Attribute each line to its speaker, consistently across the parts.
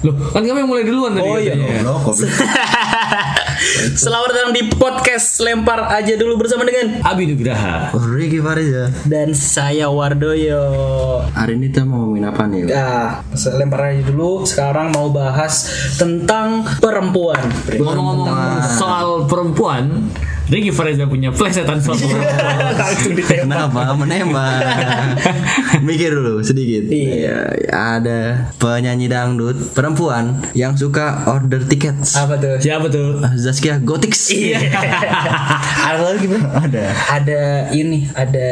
Speaker 1: Loh, kan kamu yang mulai duluan tadi.
Speaker 2: Oh iya,
Speaker 1: katanya.
Speaker 2: goblok, goblok.
Speaker 3: Selamat datang di podcast Lempar aja dulu bersama dengan
Speaker 1: Abi Nugraha.
Speaker 2: Ricky Fariza.
Speaker 3: dan saya Wardoyo.
Speaker 2: ya. Hari ini kita mau ngomongin apa nih?
Speaker 3: Ya, lempar aja dulu. Sekarang mau bahas tentang perempuan.
Speaker 1: Ngomong-ngomong soal perempuan, Ricky Fareza punya plesetan soal perempuan.
Speaker 3: Langsung ditembak.
Speaker 2: Kenapa menembak? Mikir dulu sedikit.
Speaker 3: Iya.
Speaker 2: Ya, Ada penyanyi dangdut perempuan yang suka order tiket.
Speaker 3: Apa tuh?
Speaker 1: Siapa tuh?
Speaker 2: Zaskia Gotix.
Speaker 3: ada lagi bro.
Speaker 2: Iya. Ada.
Speaker 3: Ada ini, ada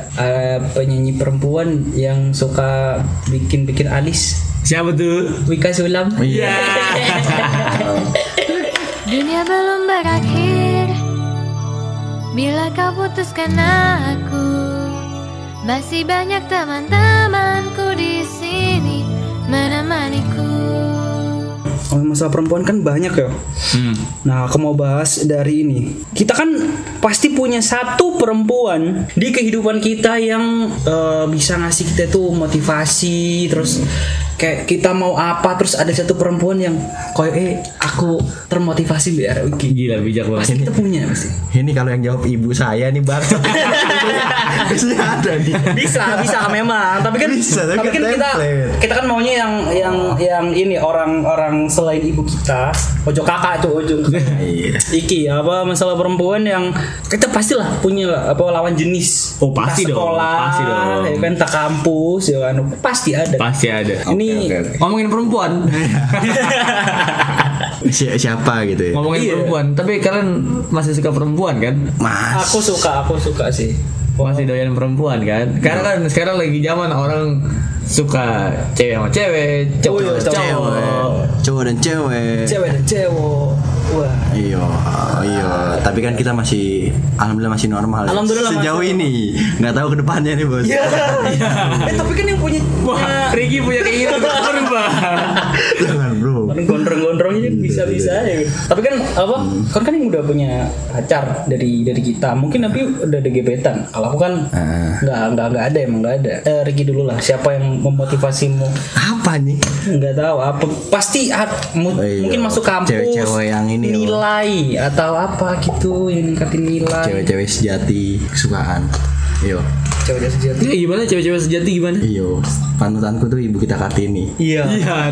Speaker 3: eh, penyanyi perempuan yang suka bikin-bikin alis.
Speaker 1: Siapa tuh?
Speaker 3: Wika Sulam.
Speaker 2: Iya.
Speaker 4: Dunia belum berakhir Bila kau putuskan aku Masih banyak teman-temanku di sini menemaniku
Speaker 3: Kalau masalah perempuan kan banyak ya.
Speaker 1: Hmm.
Speaker 3: Nah, aku mau bahas dari ini. Kita kan pasti punya satu perempuan di kehidupan kita yang eh, bisa ngasih kita tuh motivasi, terus kayak kita mau apa, terus ada satu perempuan yang kayak eh aku termotivasi biar oke.
Speaker 1: Gila bijak banget.
Speaker 3: Kita punya pasti.
Speaker 2: Ini kalau yang jawab ibu saya nih bang. Harusnya ada nih.
Speaker 3: bisa bisa memang tapi kan
Speaker 2: Bisa, tapi
Speaker 3: tapi kan
Speaker 2: kan
Speaker 3: kita
Speaker 2: template.
Speaker 3: kita kan maunya yang yang yang ini orang-orang selain ibu kita ojo kakak tuh ojo
Speaker 2: Iya.
Speaker 3: Iki apa masalah perempuan yang kita pastilah punya lah, apa lawan jenis
Speaker 1: Oh, pasti
Speaker 3: Entah
Speaker 1: dong,
Speaker 3: sekolah
Speaker 1: pasti dong.
Speaker 3: ya kan tak kampus ya kan pasti ada
Speaker 1: Pasti ada.
Speaker 3: ini
Speaker 2: oke, oke.
Speaker 1: Ngomongin perempuan.
Speaker 2: Si- siapa gitu ya?
Speaker 1: Ngomongin
Speaker 3: Iya.
Speaker 1: perempuan. Tapi kalian masih suka perempuan kan?
Speaker 2: Mas.
Speaker 3: aku suka aku suka sih
Speaker 1: Masih doyan perempuan kan? Karena kan sekarang lagi zaman orang suka cewek sama cewek, cowok
Speaker 3: Oh iya,
Speaker 1: sama cowok.
Speaker 2: Cewek. Cowok dan cewek.
Speaker 3: cewek dan cewek wah
Speaker 2: Iya, iya. Tapi kan kita masih, alhamdulillah masih normal. ya.
Speaker 3: Alhamdulillah,
Speaker 2: Sejauh ini, nggak tahu kedepannya nih bos.
Speaker 3: Iya. eh tapi kan yang punya Iya.
Speaker 1: Wah, Ricky punya keinginan untuk berubah.
Speaker 2: Jangan bro.
Speaker 3: gondrong-gondrong ini bisa-bisa aja gitu. Tapi kan apa? Kan kan yang udah punya pacar dari dari kita. Mungkin tapi udah ada gebetan. Kalau aku kan
Speaker 2: Ah.
Speaker 3: nggak nggak nggak ada emang nggak ada. Eh, Ricky dulu lah. Siapa yang memotivasimu?
Speaker 2: Apa nih?
Speaker 3: Nggak tahu apa. Pasti ah, mu-
Speaker 2: Oh, iya.
Speaker 3: mungkin masuk kampus.
Speaker 2: Cewek-cewek yang ini oh. loh.
Speaker 3: nilai atau apa gitu yang ningkatin nilai.
Speaker 2: Cewek-cewek sejati kesukaan. Iya.
Speaker 3: Cewek-cewek sejati.
Speaker 1: Iya gimana cewek-cewek sejati gimana?
Speaker 2: Iya. Panutanku tuh ibu kita kartini.
Speaker 3: Iya.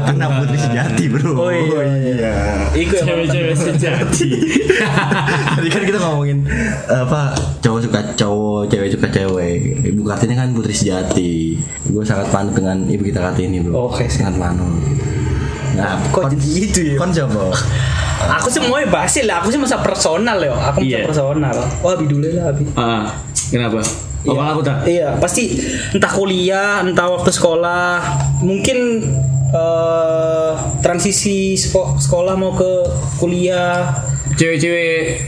Speaker 2: Anak putri sejati bro.
Speaker 3: Oh, iya.
Speaker 2: iya.
Speaker 3: Iku yang
Speaker 1: Cewek-cewek sejati.
Speaker 2: Tadi kan kita ngomongin apa cowok suka cowok, cewek suka cewek. Ibu kartini kan putri sejati. Gue sangat panut dengan ibu kita kartini bro.
Speaker 3: Oke.
Speaker 2: sangat panut. Nah,
Speaker 3: Kok jadi itu ya?
Speaker 2: Kon siapa?
Speaker 3: Aku sih mau bahas lah. Aku sih masa personal ya. Aku masa
Speaker 1: Iya.
Speaker 3: personal. Wah, abi dulu lah abi.
Speaker 1: Ah, kenapa? Oh, kalau aku tak.
Speaker 3: Iya, pasti entah kuliah, entah waktu sekolah, mungkin eh, transisi seko- sekolah mau ke kuliah.
Speaker 1: Cewek-cewek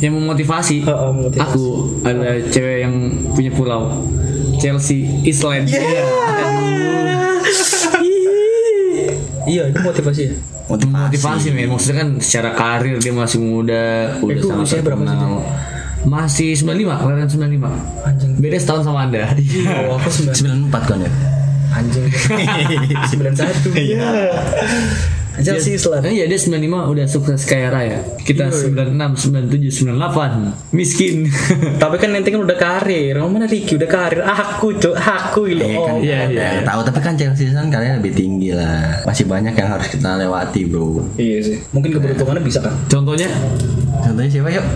Speaker 1: yang memotivasi.
Speaker 3: Heeh, motivasi.
Speaker 1: Aku
Speaker 3: iya.
Speaker 1: ada cewek yang punya pulau. Chelsea Island. Iya.
Speaker 3: Iya, itu motivasi ya.
Speaker 1: Motivasi men, maksudnya kan secara karir dia masih muda, udah
Speaker 3: Itu
Speaker 1: sangat
Speaker 3: usianya berapa sih
Speaker 1: terkenal. Masih 95, kelahiran 95.
Speaker 3: Anjing.
Speaker 1: Beda setahun sama Anda.
Speaker 3: Oh, aku sembilan.
Speaker 2: 94 kan ya?
Speaker 3: Anjing. Sembilan satu. Iya. Chelsea Island. Iya,
Speaker 1: Iya dia 95 udah sukses kaya raya Kita 96, 97, 98 Miskin
Speaker 3: Tapi kan nanti kan udah karir. Oh, mana Ricky udah karir. Aku tuh, aku loh.
Speaker 2: Iya kan,
Speaker 3: Oh.
Speaker 1: iya, iya.
Speaker 2: Ya, tahu tapi kan Chelsea kan karyanya lebih tinggi lah. Masih banyak yang harus kita lewati, Bro.
Speaker 3: Iya sih. Mungkin keberuntungannya bisa kan?
Speaker 1: Contohnya
Speaker 2: Contohnya siapa yuk?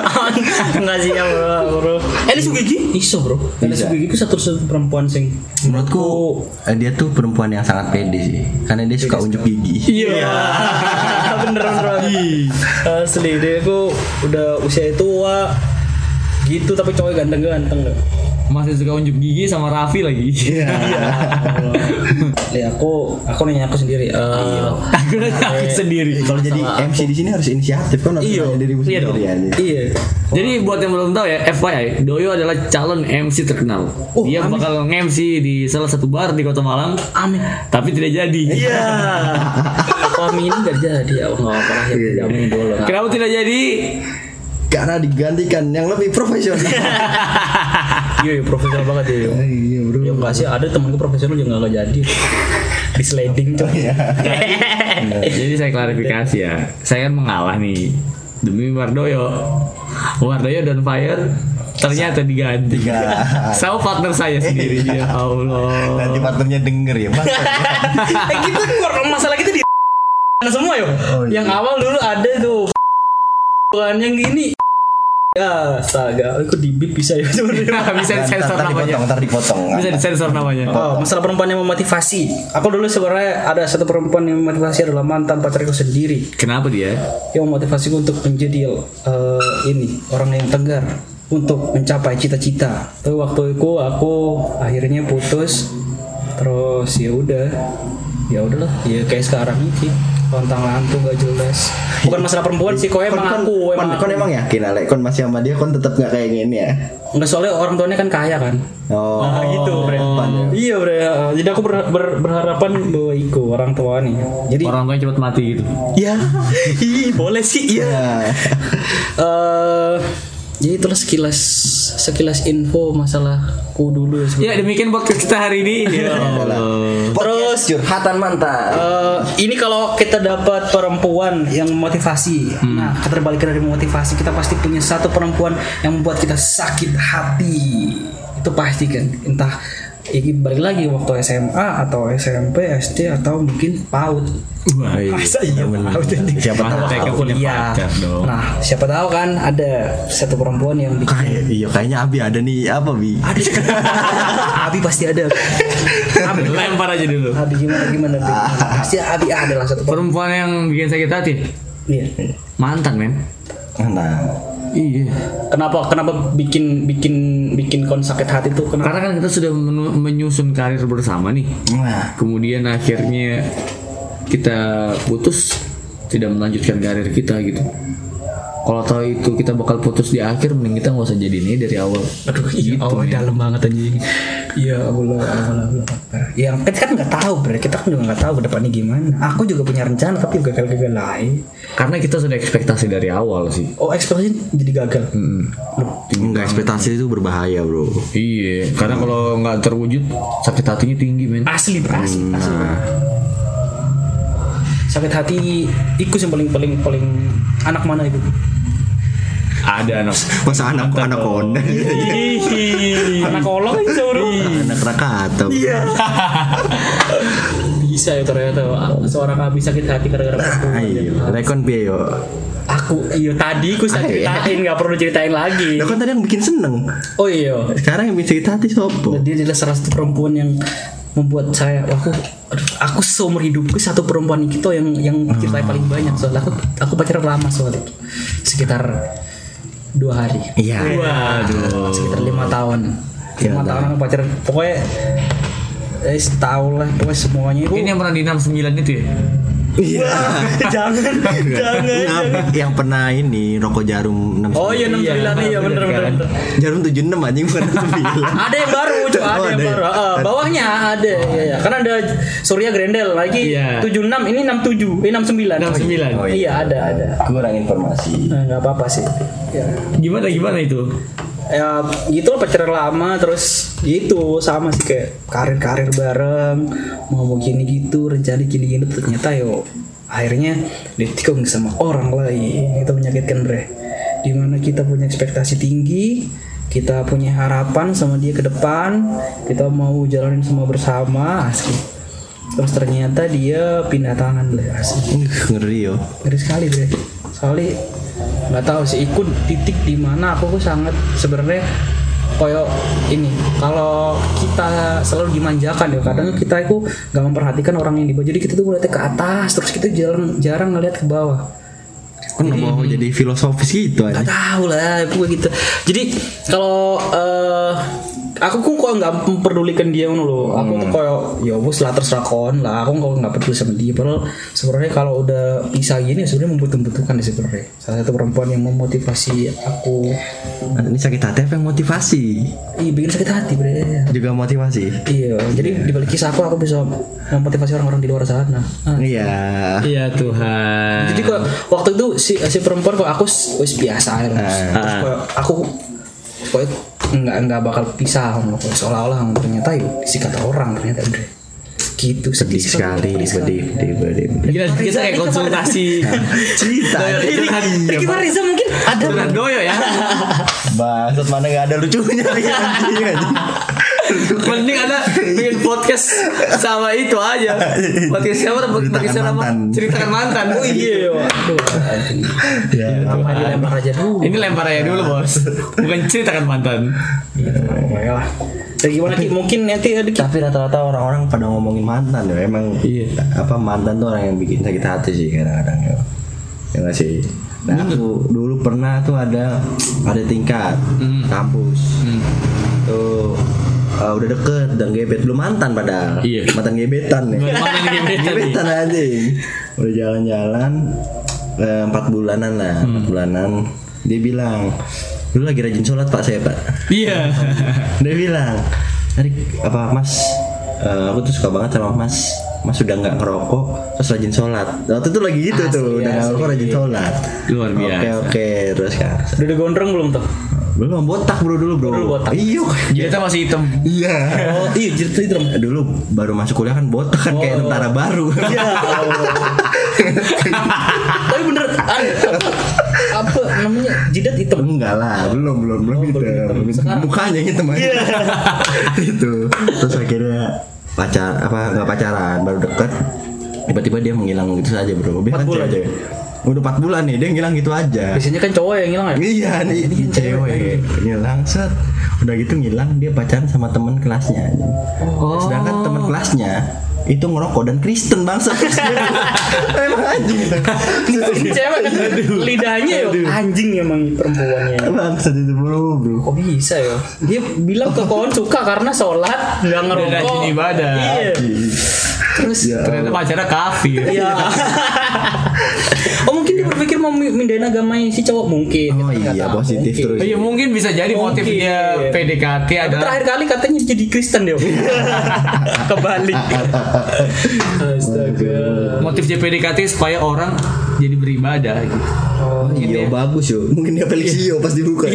Speaker 3: kan nggak siap bro. Eh, Sugigi? Iso bro. Elis
Speaker 2: Bisa.
Speaker 3: Sugigi itu satu-satunya perempuan sing
Speaker 2: Menurutku eh, dia tuh perempuan yang sangat pede sih, karena dia suka unjuk gigi.
Speaker 3: Iya. bener bener. Asli dia aku udah usia tua gitu tapi cowok ganteng-ganteng loh.
Speaker 1: Masih suka unjuk gigi sama Raffi lagi
Speaker 3: Iya. Ya aku aku nanya aku sendiri. eh,
Speaker 1: Aku nanya aku sendiri
Speaker 2: Kalau jadi MC di sini harus inisiatif kan harus
Speaker 3: Iya.
Speaker 2: nanya dirimu
Speaker 1: Iya
Speaker 2: sendiri
Speaker 1: dong.
Speaker 2: ya.
Speaker 3: Iya.
Speaker 1: Jadi buat yang belum tahu ya FYI Doyo adalah calon MC terkenal
Speaker 3: Oh,
Speaker 1: Dia
Speaker 3: amin.
Speaker 1: bakal nge-MC di salah satu bar di kota Malang
Speaker 3: Amin.
Speaker 1: Tapi tidak jadi
Speaker 3: Iya. Kami ini gak jadi ya Allah apa lah ya jamin dulu.
Speaker 1: Kenapa tidak jadi?
Speaker 2: Karena digantikan yang lebih profesional.
Speaker 3: Iya, iya, profesional banget ya.
Speaker 2: Iya bro.
Speaker 3: Ya enggak sih, ada temanku profesional juga enggak jadi. Di sliding
Speaker 2: Oh,
Speaker 3: tuh.
Speaker 2: iya.
Speaker 1: Jadi saya klarifikasi ya. Saya kan mengalah nih demi Wardoyo. Wardoyo dan Fire ternyata diganti.
Speaker 2: Tiga.
Speaker 1: Sama partner saya sendiri ya Allah.
Speaker 2: Nanti partnernya denger ya Bang.
Speaker 3: eh kita keluar masalah kita di Nah, semua yo.
Speaker 2: Oh,
Speaker 3: Yang
Speaker 2: iya.
Speaker 3: awal dulu ada tuh bukan yang gini. Ya, astaga, aku di beep bisa ya sebenarnya.
Speaker 1: bisa disensor
Speaker 2: Ntar
Speaker 1: namanya.
Speaker 2: dipotong, ntar dipotong.
Speaker 1: Bisa disensor namanya.
Speaker 3: Oh, masalah perempuan yang memotivasi. Aku dulu sebenarnya ada satu perempuan yang memotivasi adalah mantan pacarku sendiri
Speaker 1: Kenapa dia?
Speaker 3: yang memotivasiku untuk menjadi eh, ini orang yang tegar untuk mencapai cita-cita. Tapi waktu itu aku akhirnya putus terus ya udah ya udahlah ya kayak sekarang ini lontang lantung gak jelas bukan masalah perempuan sih kok emang
Speaker 2: Kon-
Speaker 3: aku
Speaker 2: kon, kon,
Speaker 3: emang
Speaker 2: kon
Speaker 3: aku.
Speaker 2: emang yakin Ale, kon masih sama dia, kon tetap nggak kayak gini ya?
Speaker 3: nggak soalnya orang tuanya kan kaya kan
Speaker 2: Oh,
Speaker 3: Nah, gitu, Bre.
Speaker 2: Pan, ya.
Speaker 3: iya bre Eh, jadi aku ber- ber- berharapan bahwa iku orang tua nih jadi
Speaker 1: Orang tuanya cepat mati gitu.
Speaker 3: ya Ih, boleh sih iya
Speaker 2: Nah,
Speaker 3: eh jadi itulah sekilas sekilas info masalahku dulu ya
Speaker 1: Ya
Speaker 3: sebenarnya.
Speaker 1: demikian podcast kita hari ini. Ya Allah.
Speaker 2: Podcast curhatan mantan.
Speaker 3: Eh, ini kalau kita dapat perempuan yang memotivasi,
Speaker 1: Hmm.
Speaker 3: nah keterbalikan dari motivasi kita pasti punya satu perempuan yang membuat kita sakit hati. Itu pasti kan, entah ini balik lagi waktu SMA atau SMP, SD atau mungkin PAUD.
Speaker 1: Wah, iya.
Speaker 3: Masa iya PAUD anjing?
Speaker 2: Siapa tahu?
Speaker 1: Masa kau punya
Speaker 3: Iya.
Speaker 1: pacar dong.
Speaker 3: Nah, siapa tahu kan ada satu perempuan yang bikin
Speaker 2: Kayak, iya kayaknya Abi ada nih apa Bi?
Speaker 3: Abi, Abi pasti ada. Abi,
Speaker 1: Lempar aja dulu.
Speaker 3: Abi gimana gimana? Abi? Pasti Abi ada lah satu.
Speaker 1: Perempuan yang bikin sakit hati
Speaker 3: Iya.
Speaker 1: mantan men.
Speaker 2: Nah,
Speaker 1: Iya.
Speaker 3: Kenapa kenapa bikin bikin bikin kon sakit hati tuh kenapa?
Speaker 1: Karena kan kita sudah menu- menyusun karir bersama nih.
Speaker 2: nah,
Speaker 1: Kemudian akhirnya kita putus tidak melanjutkan karir kita gitu. Kalau tahu itu kita bakal putus di akhir, mending kita nggak usah jadi ini dari awal.
Speaker 3: Aduh, iya, Allah, dalam banget anjing. Iya, Allah, Allah, Allah. Yang kita kan nggak tahu, bre. Kita kan juga nggak tahu kedepannya gimana. Aku juga punya rencana, tapi gagal-gagal lain.
Speaker 1: Karena kita sudah ekspektasi dari awal sih.
Speaker 3: Oh, ekspektasi jadi gagal.
Speaker 2: enggak ekspektasi itu berbahaya bro.
Speaker 1: Iya, karena kalau nggak terwujud sakit hatinya tinggi men.
Speaker 3: Asli, bre. Asli, asli. Sakit hati, ikut yang paling paling paling anak mana itu?
Speaker 1: Ada anak.
Speaker 2: Masa anak anak konde,
Speaker 3: Iya. anak kolong itu, bro.
Speaker 2: anak Rakata. Iya.
Speaker 3: bisa ya ternyata seorang abi sakit hati gara-gara perempuan.
Speaker 2: Ayo, rekon piye yo?
Speaker 3: aku iya tadi ku saya ceritain nggak perlu ceritain lagi
Speaker 2: Lah kan tadi yang bikin seneng.
Speaker 3: oh iya
Speaker 2: Sekarang yang bikin sakit hati sopo?
Speaker 3: dia adalah salah satu perempuan yang membuat saya aku aduh, aku seumur hidupku satu perempuan itu yang yang ceritanya paling banyak soalnya aku aku pacaran lama soalnya sekitar dua hari
Speaker 2: Iya.
Speaker 1: Waduh.
Speaker 3: sekitar lima tahun
Speaker 2: Iya,
Speaker 3: lima
Speaker 2: dah.
Speaker 3: tahun aku pacaran pokoknya eh setahun lah pokoknya semuanya itu
Speaker 1: Ini yang pernah di 69 itu ya?
Speaker 2: Iya.
Speaker 3: jangan jangan
Speaker 2: Yang- Yang pernah ini rokok jarum 6
Speaker 3: oh iya enam
Speaker 1: Iya,
Speaker 3: sembilan iya bener
Speaker 1: bener,
Speaker 3: bener,
Speaker 1: kan?
Speaker 3: bener.
Speaker 2: jarum 76 anjing bukan 9.
Speaker 3: ada yang baru cuy
Speaker 2: Oh,
Speaker 3: ada yang
Speaker 2: ada ya?
Speaker 3: baru Heeh, bawahnya ada ya, ya. karena ada Surya Grendel lagi
Speaker 1: Iya.
Speaker 3: 76 ini 67 ini
Speaker 1: 69.
Speaker 3: 69
Speaker 2: Oh,
Speaker 3: iya ada ada
Speaker 2: Kurang informasi.
Speaker 3: Nah, nggak apa-apa sih ya
Speaker 1: Gimana gimana itu?
Speaker 3: ya gitu lah pacaran lama terus gitu sama sih kayak karir-karir bareng mau mau gini gitu rencana gini gini ternyata yo akhirnya ditikung sama orang lain itu menyakitkan bre dimana kita punya ekspektasi tinggi kita punya harapan sama dia ke depan kita mau jalanin semua bersama asli terus ternyata dia pindah tangan bre asli
Speaker 2: Uh, ngeri yo.
Speaker 3: ngeri sekali bre soalnya nggak tahu sih ikut titik di mana aku tuh sangat sebenarnya koyo ini kalau kita selalu dimanjakan ya kadang kita itu nggak memperhatikan orang yang di bawah jadi kita tuh melihatnya ke atas terus kita jarang jarang ngelihat ke bawah
Speaker 2: Kan nggak mau jadi filosofis gitu
Speaker 3: nggak
Speaker 2: anjing.
Speaker 3: tahu lah gue gitu jadi kalau eh, aku kok kok nggak memperdulikan dia ngono loh aku tuh kayak ya bos lah terserah kon lah aku kalau nggak peduli sama dia padahal sebenarnya kalau udah pisah gini ya sebenarnya membutuhkan butuhkan sih sebenarnya salah satu perempuan yang memotivasi aku
Speaker 2: Ini sakit hati apa yang motivasi?
Speaker 3: ih bikin sakit hati bre
Speaker 2: Juga motivasi.
Speaker 3: iya jadi di balik kisah aku aku bisa memotivasi orang-orang di luar sana Ah.
Speaker 2: Iya.
Speaker 1: Iya Tuhan.
Speaker 3: Jadi kok waktu itu si si perempuan kok aku s- wis biasa aja. Terus
Speaker 1: Ah.
Speaker 3: kok aku kok nggak nggak bakal pisah sama lo. seolah-olah ternyata yuk disikat orang ternyata Andre gitu
Speaker 2: sedih sekali sedih sedih sedih
Speaker 1: Gila, kita kayak konsultasi
Speaker 2: cerita
Speaker 1: Curhat
Speaker 3: Kita Riza mungkin ada
Speaker 1: curhat doyo ya
Speaker 2: Bangsat mana gak ada lucunya lagi anjing, anjing.
Speaker 1: Mending ada bikin podcast sama itu aja Podcast siapa? Podcast
Speaker 2: Ceritakan
Speaker 1: siapa?
Speaker 2: mantan.
Speaker 1: Ceritakan mantan Oh iya
Speaker 2: Ya,
Speaker 3: Mari lempar aja dulu
Speaker 1: Ini lempar aja dulu bos Bukan ceritakan mantan
Speaker 3: Jadi gimana Ki? Mungkin nanti ada Ki
Speaker 2: tapi rata-rata orang-orang pada ngomongin mantan ya emang
Speaker 1: Iya.
Speaker 2: apa mantan tuh orang yang bikin sakit hati sih kadang-kadang ya ya nggak sih nah
Speaker 1: Hmm.
Speaker 2: aku dulu pernah tuh ada ada tingkat
Speaker 1: Hmm.
Speaker 2: kampus tuh eh, udah deket dan gebet belum mantan padahal
Speaker 1: Iya.
Speaker 2: mantan gebetan ya
Speaker 1: Mantan gebetan nih.
Speaker 2: gebetan aja udah jalan-jalan eh, empat bulanan lah
Speaker 1: Hmm.
Speaker 2: empat bulanan dia bilang dulu lagi rajin sholat pak saya pak
Speaker 1: Iya
Speaker 2: dia bilang Erik apa mas eh, aku tuh suka banget sama mas mas sudah nggak ngerokok terus rajin sholat waktu itu lagi gitu tuh udah nggak ngerokok rajin sholat
Speaker 1: Luar biasa.
Speaker 2: oke oke terus kan
Speaker 3: Udah ada gondrong belum tuh?
Speaker 2: belum botak bro dulu bro
Speaker 3: Dulu botak.
Speaker 2: iya
Speaker 1: Jadinya masih hitam
Speaker 2: iya
Speaker 3: Oh iya jertu itu Oh.
Speaker 2: Eh, dulu baru masuk kuliah kan botak kan kayak tentara baru
Speaker 3: Iya, Tapi bener ada- apa, apa namanya jidat hitam
Speaker 2: enggak lah belum belum belum hitam. Oh, Belum gitu. Iya. hitam. mukanya hitam aja itu terus akhirnya pacar apa nggak pacaran baru deket tiba-tiba dia menghilang gitu saja bro dia kan
Speaker 3: bulan.
Speaker 2: cewek udah 4 bulan nih dia ngilang gitu aja
Speaker 3: Biasanya kan cowok yang hilang ya
Speaker 2: iya nih ini cewek ngilang set udah gitu ngilang dia pacaran sama teman kelasnya Oh. sedangkan teman kelasnya itu ngerokok dan Kristen bangsa emang anjing
Speaker 3: Ini cewek kan lidahnya ya anjing emang perempuannya
Speaker 2: bangsa itu bro bro
Speaker 3: Kok bisa ya? Dia bilang ke kawan suka karena sholat nggak
Speaker 1: Dan
Speaker 3: ngerokok.
Speaker 1: rajin ibadah
Speaker 3: Iya. Terus
Speaker 2: Ya
Speaker 1: Ternyata pacarnya kafir
Speaker 3: Iya. oh mungkin dia berpikir mau mi- mindahin agamanya si cowok mungkin. Kita
Speaker 2: Oh
Speaker 3: nggak
Speaker 2: iya,
Speaker 3: tahu.
Speaker 2: positif
Speaker 3: Mungkin.
Speaker 2: terus.
Speaker 1: Iya mungkin bisa jadi motif
Speaker 3: Mungkin.
Speaker 1: dia PDKT
Speaker 3: Tapi
Speaker 1: adalah
Speaker 3: Terakhir kali katanya jadi Kristen dia. Kebalik. Astaga.
Speaker 1: motif dia PDKT supaya orang jadi beribadah gitu.
Speaker 2: Oh,
Speaker 3: ya.
Speaker 2: iya, bagus yo. Mungkin dia
Speaker 3: Iya.
Speaker 2: Felicio pas dibuka.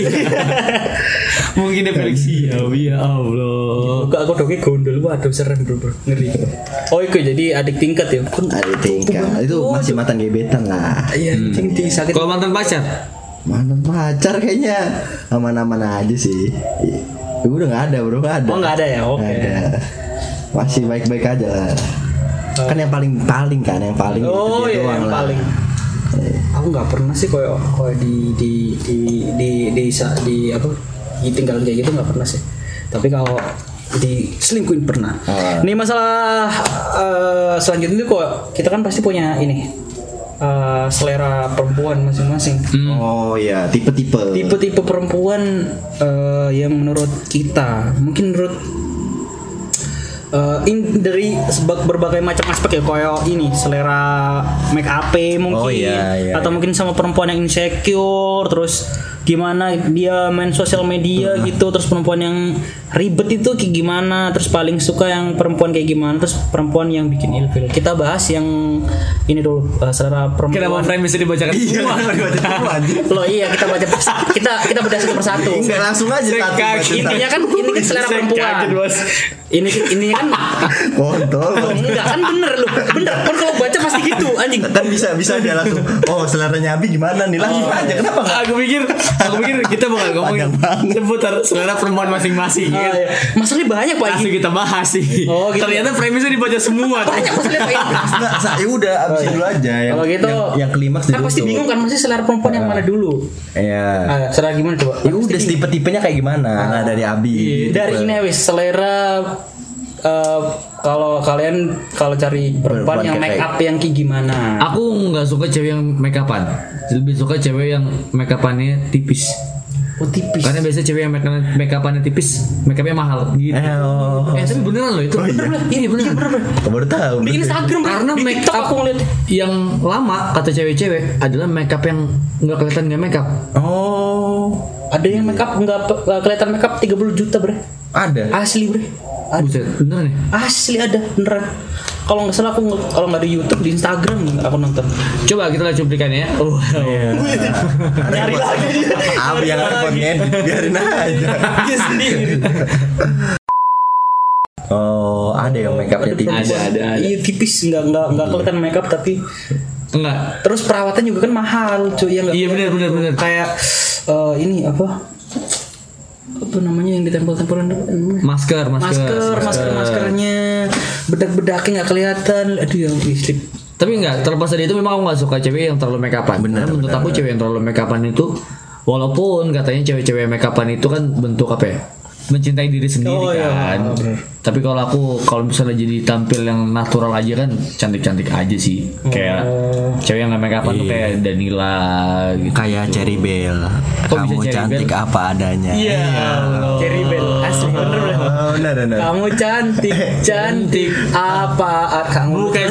Speaker 1: Mungkin dia Felix ya, ya Allah.
Speaker 3: Buka aku doge gondol, waduh serem bro, bro. ngeri. Oh itu jadi adik tingkat ya? Kan
Speaker 2: Ada tingkat. Itu masih mantan gebetan lah.
Speaker 3: Iya, tinggi sakit.
Speaker 1: Kalau mantan pacar,
Speaker 2: Mantan pacar kayaknya aman-aman aja sih. Ya, udah nggak ada bro, nggak ada.
Speaker 3: Oh nggak ada ya? Oke.
Speaker 2: Nggak ada. Masih baik-baik aja lah. Kan yang paling paling kan yang paling
Speaker 3: Oh iya, yang paling.
Speaker 2: Eh.
Speaker 3: Aku nggak pernah sih kayak kayak di di di di di sa- di apa ditinggalin kayak gitu nggak pernah sih. Tapi kalau diselingkuhin pernah.
Speaker 2: Ah.
Speaker 3: Ini masalah eh, selanjutnya tuh kok kita kan pasti punya ini eh, selera perempuan masing-masing.
Speaker 2: Oh iya, tipe-tipe.
Speaker 3: Tipe-tipe perempuan eh, yang menurut kita mungkin menurut eh, in- dari sebab berbagai macam aspek ya koyo ini selera make up mungkin
Speaker 2: Oh, iya, iya,
Speaker 3: atau mungkin sama perempuan yang insecure terus gimana dia main sosial media
Speaker 2: Mm-hmm.
Speaker 3: gitu terus perempuan yang ribet itu kayak gimana terus paling suka yang perempuan kayak gimana terus perempuan yang bikin ilfil kita bahas yang ini dulu eh, selera
Speaker 1: kenapa
Speaker 3: perempuan
Speaker 1: frame bisa dibacakan
Speaker 2: Iya,
Speaker 1: semua?
Speaker 3: Loh iya kita baca kita kita bedah satu persatu.
Speaker 2: Enggak langsung aja
Speaker 1: Saya kaget.
Speaker 2: satu bacaan.
Speaker 3: Intinya kan ini kan selera
Speaker 1: Saya
Speaker 3: perempuan.
Speaker 1: kaget, Bos.
Speaker 3: Ini ininya kan
Speaker 2: Kontol.
Speaker 3: enggak kan bener loh. Bener kan kalau baca pasti gitu anjing.
Speaker 2: Kan bisa bisa dia langsung. Oh seleranya Abi gimana nih? Langsung
Speaker 3: Oh, iya.
Speaker 2: aja. Ya, Kenapa nggak?
Speaker 1: Aku pikir, aku pikir kita bakal ngomongin
Speaker 2: Panjang banget.
Speaker 1: seputar selera perempuan masing-masing.
Speaker 3: Ah,
Speaker 1: ya.
Speaker 3: iya. Masalahnya banyak Pak Igi.
Speaker 1: Langsung kita bahas sih.
Speaker 3: Oh, gitu.
Speaker 1: Ternyata premisnya dibaca semua. gitu. tuh.
Speaker 3: Banyak masalahnya Pak Igi.
Speaker 2: Nah, sa- ya udah abisin dulu aja yang
Speaker 3: Oh, iya. Kalau gitu
Speaker 2: yang, yang klimaks
Speaker 3: kan pasti bingung kan masih selera perempuan yang mana dulu.
Speaker 2: Iya.
Speaker 3: Ah, selera gimana coba?
Speaker 2: Ya udah tipe-tipenya kayak gimana? Nah, dari Abi.
Speaker 3: iya, Dari ini wis selera eh, kalau kalian kalau cari perempuan
Speaker 2: Perempuan
Speaker 3: yang
Speaker 2: kayak-
Speaker 3: make up yang kayak gimana?
Speaker 1: Aku nggak suka cewek yang make upan. Lebih suka cewek yang make upannya tipis.
Speaker 3: Oh tipis.
Speaker 1: Karena biasanya cewek yang make make upannya tipis, make upnya mahal gitu.
Speaker 2: Eh, oh.
Speaker 1: Eh, tapi beneran loh itu. beneran. Iya beneran.
Speaker 2: Kamu baru tahu.
Speaker 3: Di Instagram Bro.
Speaker 1: Karena
Speaker 3: di
Speaker 1: make
Speaker 3: TikTok
Speaker 1: up
Speaker 3: aku ngeliat
Speaker 1: yang lama kata cewek-cewek adalah make up yang nggak kelihatan nggak make up.
Speaker 2: Oh,
Speaker 3: Ada yang make up nggak pe- nggak kelihatan make up 30 juta bre.
Speaker 2: ada.
Speaker 3: Ah, Asli bre.
Speaker 1: Buset, ya? bener nih.
Speaker 3: Asli ada beneran. kalau nggak salah aku nge- kalau nggak di YouTube di Instagram aku nonton
Speaker 1: Coba kita lihat cuplikannya. ya. Oh,
Speaker 3: nyari lagi dia
Speaker 2: Abi yang repot ngedit biarin aja.
Speaker 3: dia sendiri
Speaker 2: Oh, ada yang make upnya tipis.
Speaker 1: Ada, ada, ada. Iya.
Speaker 3: iya tipis nggak nggak nggak kelihatan makeup tapi
Speaker 1: enggak.
Speaker 3: terus perawatan juga kan mahal cuy ya nggak
Speaker 1: Iya, benar, benar, benar.
Speaker 3: kayak eh, ini apa apa namanya yang ditempel-tempelan namanya?
Speaker 1: Masker, masker.
Speaker 3: masker masker maskernya bedak-bedaknya nggak kelihatan aduh ya yang listrik
Speaker 1: Tapi enggak, terlepas dari itu memang aku nggak suka cewek yang terlalu make upan. Benar, menurut aku cewek yang terlalu make upan itu walaupun katanya cewek-cewek make upan itu kan bentuk apa ya? mencintai diri sendiri
Speaker 3: Oh, iya.
Speaker 1: kan. Tapi kalau aku kalau misalnya jadi tampil yang natural aja kan cantik-cantik aja sih. Kayak cewek yang nggak make upan tuh kayak Danila gitu.
Speaker 2: Kayak Cherry Bell.
Speaker 1: Kok bisa
Speaker 2: Kamu
Speaker 1: Cherry
Speaker 2: cantik ah. apa adanya.
Speaker 3: Iya, Cherry Bell asli bener bener.
Speaker 2: Oh, benar benar.
Speaker 3: Kamu cantik, cantik apa ah, kamu?
Speaker 1: Bukan.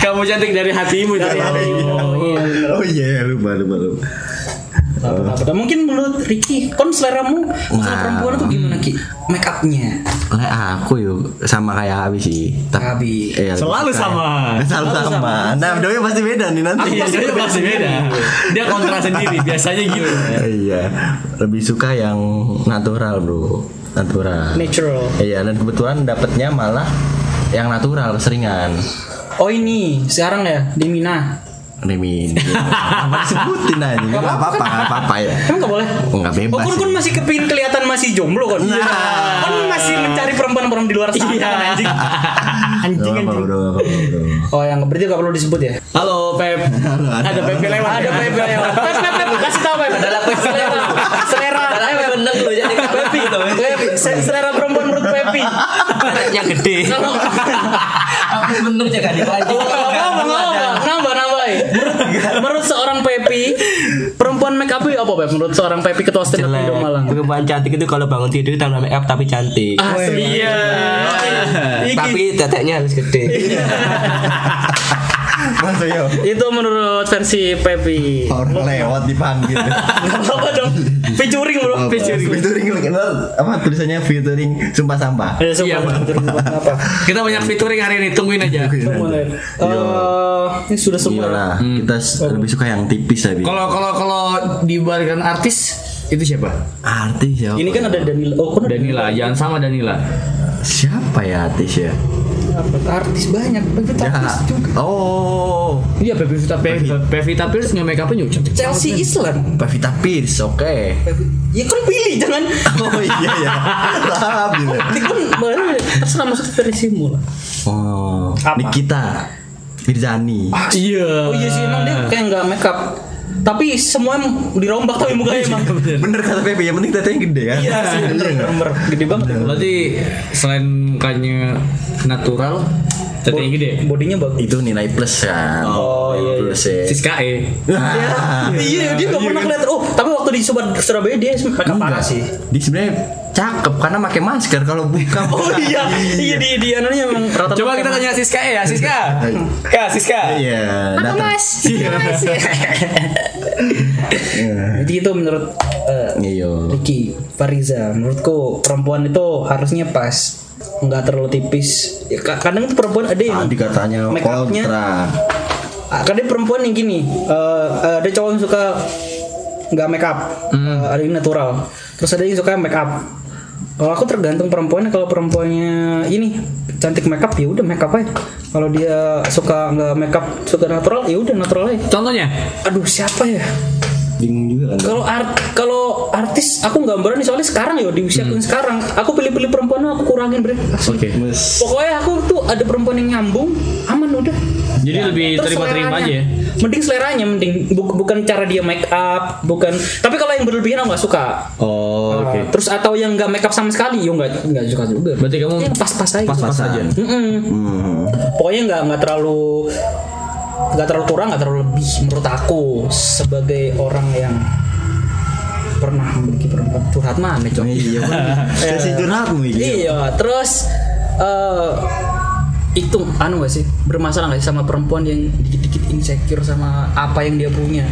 Speaker 1: Kamu cantik dari hatimu
Speaker 3: Iya,
Speaker 1: dari
Speaker 2: iya, Oh iya, lupa lupa lupa.
Speaker 3: Apa-apa. Mungkin menurut Ricky, kon seleramu masalah
Speaker 2: Nah.
Speaker 3: perempuan tuh gimana ki? Make upnya,
Speaker 2: Lah aku yuk sama kayak Abi sih. Tapi
Speaker 3: Abi.
Speaker 2: Iya,
Speaker 1: Selalu
Speaker 2: kayak-
Speaker 1: sama.
Speaker 2: Selalu sama. Nah, bedanya pasti beda nih nanti.
Speaker 1: Iya, itu pasti beda. Dia kontra sendiri, biasanya gitu.
Speaker 2: Iya, lebih suka yang natural, Bro. Natural.
Speaker 3: Natural.
Speaker 2: Iya, dan kebetulan dapetnya malah yang natural seringan.
Speaker 3: Oh ini sekarang ya Demina.
Speaker 2: Remin. Apa disebutin aja? Gak apa-apa, gak apa-apa ya.
Speaker 3: Emang nggak boleh?
Speaker 2: Enggak
Speaker 3: Oh,
Speaker 2: bebas.
Speaker 3: kon kon masih kepingin kelihatan masih jomblo kon.
Speaker 2: Nah.
Speaker 3: Kon masih mencari perempuan-perempuan di luar sana kan,
Speaker 1: Iya.
Speaker 3: anjing. Anjing
Speaker 2: Gak apa-apa,
Speaker 3: anjing.
Speaker 2: bro, gak apa-apa, bro.
Speaker 3: Oh, yang berarti gak perlu disebut ya?
Speaker 1: Halo, Pep.
Speaker 2: ada.
Speaker 1: Ada Pep lewat.
Speaker 3: Ada Pepe lewat. Pep, Pep, Pep, kasih tahu Pep. Adalah selera. Selera. Ayo, Pep.
Speaker 1: lu jadi Pepi gitu.
Speaker 3: Pepi, se- selera perempuan menurut Pepi.
Speaker 1: Yang gede.
Speaker 5: Aku bener cek adik lagi.
Speaker 3: Nambah, nambah, nambah, nambah. ya. Menurut- Menurut seorang Pepi, perempuan make up apa Pep? Menurut seorang Pepi ketua stand up
Speaker 5: Jelek.
Speaker 3: Indo Malang.
Speaker 5: Perempuan cantik itu kalau bangun tidur tambah make up tapi cantik.
Speaker 3: Ah, iya. Iki.
Speaker 5: Tapi teteknya harus gede.
Speaker 2: Masa yo,
Speaker 3: Itu menurut versi Pepi.
Speaker 2: orang lewat dipanggil.
Speaker 3: Gak apa-apa dong. Featuring bro. Featuring.
Speaker 2: Featuring apa tulisannya featuring sumpah sampah.
Speaker 3: Ya, semua featuring. Apa?
Speaker 1: Kita banyak featuring hari ini, tungguin aja.
Speaker 3: Mulai. Eh, ini sudah semua. ya?
Speaker 2: Iyalah, Gitu kita s- lebih suka yang tipis ya. Bi.
Speaker 1: Kalau kalau kalau dibalikan artis itu siapa?
Speaker 2: Artis ya.
Speaker 3: Ini kan ada Danila. Oh, kan ada
Speaker 1: Danila, jangan sama Danila.
Speaker 2: siapa ya artis ya?
Speaker 3: Dapat artis banyak, Pepi tuh
Speaker 2: Ya.
Speaker 3: artis juga.
Speaker 2: Oh,
Speaker 1: Iya, Pevita Pevita Pierce nggak make up juga cantik.
Speaker 3: Chelsea Island.
Speaker 2: Pevita Pierce, oke.
Speaker 3: Pepi. Ya kan pilih jangan.
Speaker 2: Oh iya ya. Lahap gitu.
Speaker 3: Ini kan baru terserah masuk versimu lah.
Speaker 2: Oh,
Speaker 3: Apa?
Speaker 2: Nikita Mirzani.
Speaker 1: Iya.
Speaker 3: Oh iya sih emang dia kayak nggak make up. Tapi semua em- dirombak tapi mukanya emang.
Speaker 1: Iya,
Speaker 2: Bener kata Pepe, yang penting tetenya gede kan?
Speaker 3: Iya sih, bener,
Speaker 2: nggak?
Speaker 3: bener. Gede banget.
Speaker 1: Berarti selain mukanya natural, tetenya gede.
Speaker 3: Bodinya bagus.
Speaker 2: Itu nilai plus kan?
Speaker 3: Oh, iya,
Speaker 2: Nilai
Speaker 3: iya.
Speaker 2: plus ya.
Speaker 1: Siska E.
Speaker 2: Ah.
Speaker 3: Iya, dia nggak pernah kelihatan. Oh, tapi waktu di Sobat Surabaya dia make up parah
Speaker 2: Enggak.
Speaker 3: sih.
Speaker 2: Dia sebenarnya cakep karena pakai masker kalau buka.
Speaker 3: Oh iya, iya di di anunya emang rata-rata.
Speaker 1: Coba kita tanya Siska E ya, Siska. Kak, Siska.
Speaker 2: Iya, datang.
Speaker 3: Iya. Jadi itu menurut eh,
Speaker 2: Iya.
Speaker 3: Ricky Fariza menurutku perempuan itu harusnya pas nggak terlalu tipis ya, ka- kadang tuh perempuan ada yang
Speaker 2: Tadi katanya
Speaker 3: Iya. make upnya Ah,
Speaker 2: kontra.
Speaker 3: kadang perempuan yang gini eh, eh, ada cowok yang suka nggak make up
Speaker 2: Hmm.
Speaker 3: eh, ada yang natural terus ada yang suka make up kalau aku tergantung perempuannya kalau perempuannya ini cantik make up ya udah make up aja kalau dia suka nggak make up suka natural ya udah natural aja
Speaker 1: Contohnya?
Speaker 3: aduh siapa ya
Speaker 2: Bingung juga kan?
Speaker 3: kalau art kalau artis aku nggak berani soalnya sekarang ya di usia
Speaker 1: Hmm.
Speaker 3: aku yang sekarang aku pilih-pilih perempuan aku kurangin bre
Speaker 1: Oke.
Speaker 2: Mas.
Speaker 3: pokoknya aku tuh ada perempuan yang nyambung aman udah
Speaker 1: Jadi lebih
Speaker 3: Terus
Speaker 1: terima-terima aja
Speaker 3: seleranya.
Speaker 1: ya.
Speaker 3: mending seleranya mending Bu- bukan cara dia make up bukan tapi kalau yang berlebihan aku nggak suka
Speaker 1: Oh, oke.
Speaker 3: Nah, terus atau yang nggak make up sama sekali yo nggak nggak suka juga
Speaker 1: Berarti kamu
Speaker 3: yang pas-pas aja
Speaker 1: pas-pas aja.
Speaker 3: Mm-mm.
Speaker 2: Hmm.
Speaker 3: kan? pokoknya nggak nggak terlalu nggak terlalu kurang nggak terlalu lebih menurut aku sebagai orang yang pernah memiliki perempuan curhat mana
Speaker 2: Oh,
Speaker 3: coy
Speaker 2: Iya, kasih curhatmu ini.
Speaker 3: iya terus eh itu anu gak sih bermasalah gak sih sama perempuan yang dikit-dikit insecure sama apa yang dia punya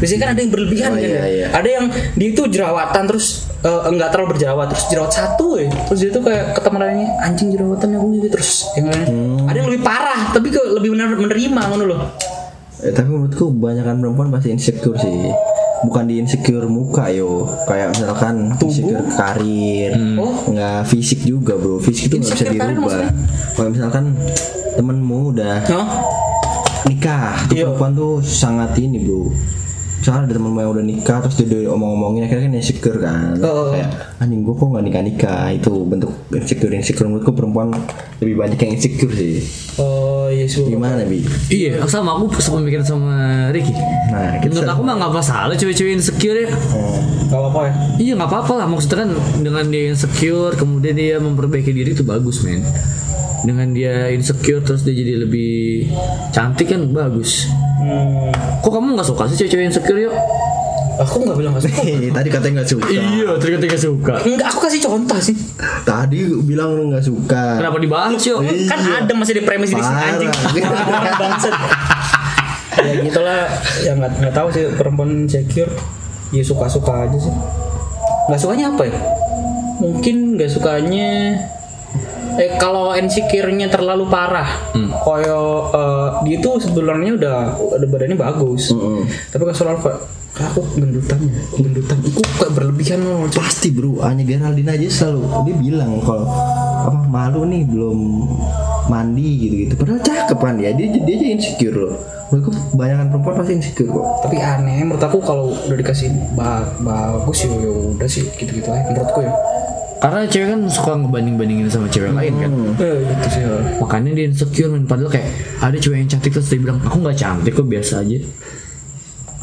Speaker 3: biasanya kan ada yang berlebihan
Speaker 2: Oh,
Speaker 3: kan
Speaker 2: iya,
Speaker 3: ya.
Speaker 2: iya.
Speaker 3: ada yang dia itu jerawatan terus eh, enggak terlalu berjerawat terus jerawat satu ya terus dia tuh kayak ke teman lainnya anjing jerawatannya gue gitu terus yang lain
Speaker 2: Hmm.
Speaker 3: ada yang lebih parah tapi ke, lebih benar menerima ngono loh
Speaker 2: Eh, tapi menurutku kebanyakan perempuan pasti insecure sih bukan di insecure muka yo kayak misalkan insecure karir
Speaker 3: Oh.
Speaker 2: nggak fisik juga bro fisik itu nggak bisa
Speaker 3: Insecure karir
Speaker 2: dirubah kalau misalkan temenmu udah
Speaker 3: Hah?
Speaker 2: nikah tuh
Speaker 3: Iya.
Speaker 2: perempuan tuh sangat ini bro misalnya ada temen yang udah nikah terus dia udah omong-omongin akhirnya kan insecure kan
Speaker 3: Oh.
Speaker 2: kayak anjing gua kok nggak nikah nikah itu bentuk insecure insecure menurutku perempuan lebih banyak yang insecure sih
Speaker 3: oh iya sih Bang.
Speaker 2: gimana bi
Speaker 1: Iya, sama aku sepemikiran sama Ricky.
Speaker 2: nah kita
Speaker 1: Menurut aku mah nggak masalah cewek-cewek insecure ya.
Speaker 3: nggak apa-apa ya
Speaker 1: Iya nggak apa-apa lah maksudnya kan dengan dia insecure kemudian dia memperbaiki diri itu bagus men. Dengan dia insecure terus dia jadi lebih cantik kan bagus.
Speaker 3: Hmm,
Speaker 1: Kok kamu nggak suka sih cewek-cewek insecure yuk?
Speaker 3: aku nggak bilang nggak suka
Speaker 2: Eh, tadi katanya nggak suka
Speaker 1: ternyata nggak suka.
Speaker 3: Enggak, aku kasih contoh sih.
Speaker 2: tadi bilang lu nggak suka
Speaker 1: Kenapa dibahas yuk?
Speaker 3: Kan ada masih di premis di sini
Speaker 2: Parah.
Speaker 3: anjing. Orang Bangsat. ya gitulah. Ya nggak nggak tahu sih perempuan insecure. Ya suka suka aja sih. Nggak sukanya apa ya? Mungkin nggak sukanya. Eh kalau insecure-nya terlalu parah, koyo eh, dia tuh sebenarnya udah udah badannya bagus, tapi kalau soal kayak aku gendutan, ya, aku gendutan, aku kayak berlebihan loh.
Speaker 2: pasti bro hanya Geraldine aja selalu dia bilang kalau apa malu nih belum mandi gitu gitu padahal cakep kan ya dia dia aja insecure loh menurutku kebanyakan perempuan pasti insecure kok
Speaker 3: tapi aneh menurut aku kalau udah dikasih ba- bagus ya ya udah sih gitu-gitu aja menurutku ya
Speaker 1: Karena cewek kan suka ngebanding-bandingin sama cewek lain kan.
Speaker 3: eh gitu sih ya.
Speaker 1: Makanya dia insecure men padahal kayak ada cewek yang cantik terus dia bilang aku nggak cantik kok biasa aja.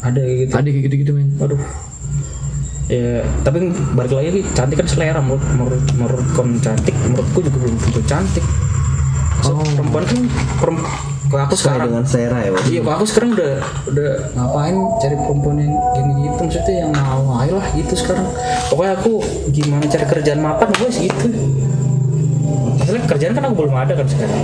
Speaker 3: ada kayak gitu
Speaker 1: Ada kayak gitu-gitu men.
Speaker 3: aduh ya tapi balik lagi Wi, cantik kan selera menurut menurut menurut kon cantik menurutku juga belum tentu cantik so, perempuan kan perempuan aku
Speaker 2: sesuai
Speaker 3: sekarang
Speaker 2: dengan selera ya bro.
Speaker 3: Iya, kok aku sekarang udah udah ngapain cari perempuan yang gini gitu maksudnya yang mau ayo lah gitu sekarang. Pokoknya aku gimana cari kerjaan mapan gue segitu. Masalah kerjaan kan aku belum ada kan sekarang.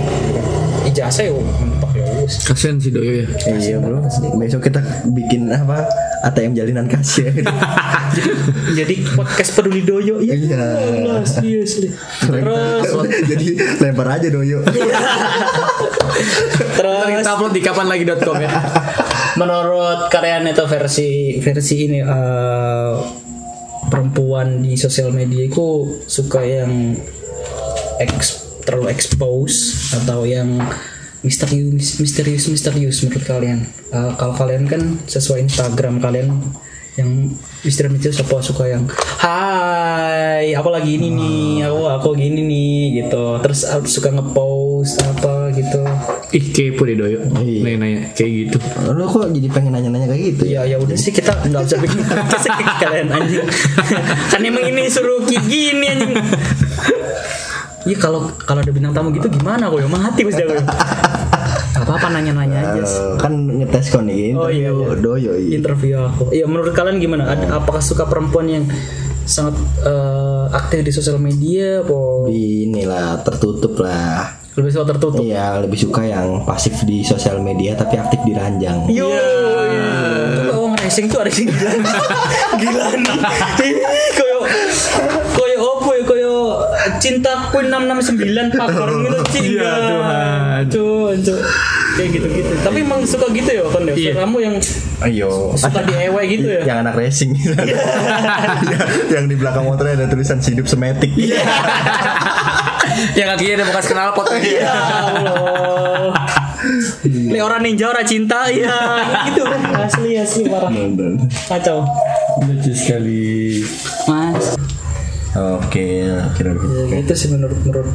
Speaker 3: Ijazah ya mentok ya lulus.
Speaker 1: Kasian si Doyo ya.
Speaker 2: iya bro besok kita bikin apa ATM jalinan kasir
Speaker 3: Jadi podcast peduli doyo iya.
Speaker 2: Iya.
Speaker 3: Allah, seriously. Terus
Speaker 2: jadi lempar aja doyo
Speaker 3: terus
Speaker 1: upload di kapan lagi.com ya.
Speaker 3: menurut karya Neto versi versi ini eh, perempuan di sosial media itu suka yang eks- terlalu expose atau yang misterius misterius misterius menurut kalian Eh, kalau kalian kan sesuai Instagram kalian yang misterius misterius apa suka yang Hai aku lagi ini nih aku aku gini nih gitu terus eh, suka ngepost apa gitu
Speaker 1: Ih kepo deh Doyo.
Speaker 2: Iya.
Speaker 1: Nanya-nanya kayak gitu.
Speaker 2: lo kok jadi pengen nanya-nanya kayak gitu ya
Speaker 3: Ya ya udah sih kita nggak usah bikin podcast sih kalian anjing. kan emang ini suruh ki- gini anjing. Iya kalau kalau ada bintang tamu gitu gimana gue mati pasti gue. Gak apa-apa nanya-nanya aja sih.
Speaker 2: Eh, kan ngetes kon nih
Speaker 3: Oh, iya, iya.
Speaker 2: doyo iya.
Speaker 3: Interview aku. Iya menurut kalian gimana? Ada- apakah suka perempuan yang sangat eh, aktif di sosial media apa
Speaker 2: inilah tertutup lah
Speaker 3: lebih suka tertutup?
Speaker 2: Iya lebih suka yang pasif di sosial media tapi aktif di ranjang.
Speaker 3: Yo. Coba uang racing tuh ada yang gila. gila nih. Ih, Koyo koyo opo ya koyo cintaku 669 pakor gitu cinta.
Speaker 1: Iya, Tuhan.
Speaker 3: Cuk, cuk. Kayak gitu-gitu. Tapi emang suka gitu ya kan ya. Suka Kamu yang
Speaker 2: Ayo.
Speaker 3: suka di EW gitu ya.
Speaker 2: Yang Iya. anak racing. yang di belakang motornya ada tulisan hidup semetik.
Speaker 1: Yang Ya, kakinya ada bekas knalpot.
Speaker 2: Iya.
Speaker 3: Ya Allah. Ini orang ninja orang cinta ya gitu asli asli parah kacau
Speaker 1: Lucu sekali.
Speaker 3: mas
Speaker 2: Oke, kira
Speaker 3: Ya, itu sih menurut menurut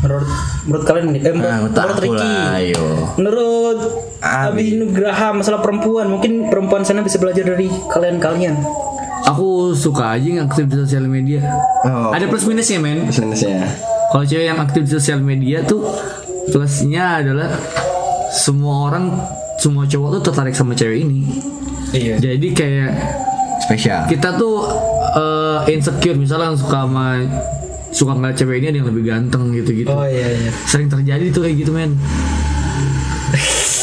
Speaker 3: menurut menurut kalian nih eh, menurut,
Speaker 2: Nah, menurut
Speaker 3: menurut
Speaker 2: aku
Speaker 3: Ricky
Speaker 2: lah, ayo.
Speaker 3: menurut Abi
Speaker 2: Abi.
Speaker 3: Nugraha masalah perempuan mungkin perempuan sana bisa belajar dari kalian kalian
Speaker 1: Aku suka aja yang aktif di sosial media.
Speaker 2: Oh. ya.
Speaker 1: Ada plus minusnya men.
Speaker 2: Sebenarnya.
Speaker 1: Kalau cewek yang aktif di sosial media tuh plusnya adalah semua orang semua cowok tuh tertarik sama cewek ini.
Speaker 3: iya
Speaker 1: Jadi kayak
Speaker 2: Spesial.
Speaker 1: kita tuh eh, insecure misalnya suka sama suka ngeliat cewek
Speaker 2: Oh.
Speaker 1: ini ada yang lebih ganteng gitu-gitu.
Speaker 3: oh iya iya
Speaker 1: Sering terjadi tuh kayak gitu men.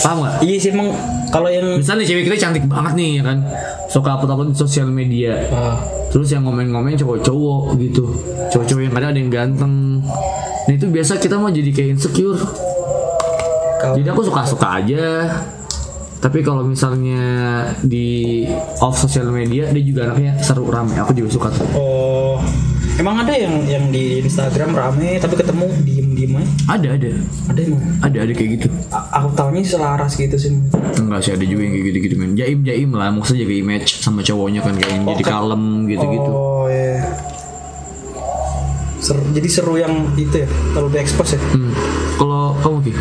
Speaker 1: paham gak?
Speaker 3: Iya sih emang kalau yang
Speaker 1: Misalnya nih, cewek kita cantik banget nih ya kan Suka upload-upload di sosial media
Speaker 3: Ah,
Speaker 1: Terus yang ngomen-ngomen cowok-cowok gitu Cowok-cowok yang kadang ada yang ganteng Nah itu biasa kita mau jadi kayak insecure Jadi aku suka-suka aja Tapi kalau misalnya di off sosial media Dia juga anaknya seru rame Aku juga suka tuh
Speaker 3: oh emang ada yang yang di Instagram rame tapi ketemu diem diem aja.
Speaker 1: Ada, ada
Speaker 3: Ada emang.
Speaker 1: Ada, ada kayak gitu
Speaker 3: A- aku tahunya selaras gitu sih.
Speaker 1: Enggak sih ada juga yang kayak gitu-gitu men Jaim-jaim lah Maksudnya jaga image sama cowoknya kan Kayak yang jadi
Speaker 3: kan-
Speaker 1: kalem gitu-gitu
Speaker 3: Oh iya. Seru- jadi seru yang itu ya terlalu diekspos ya.
Speaker 1: Hmm. Kalau kamu Ki?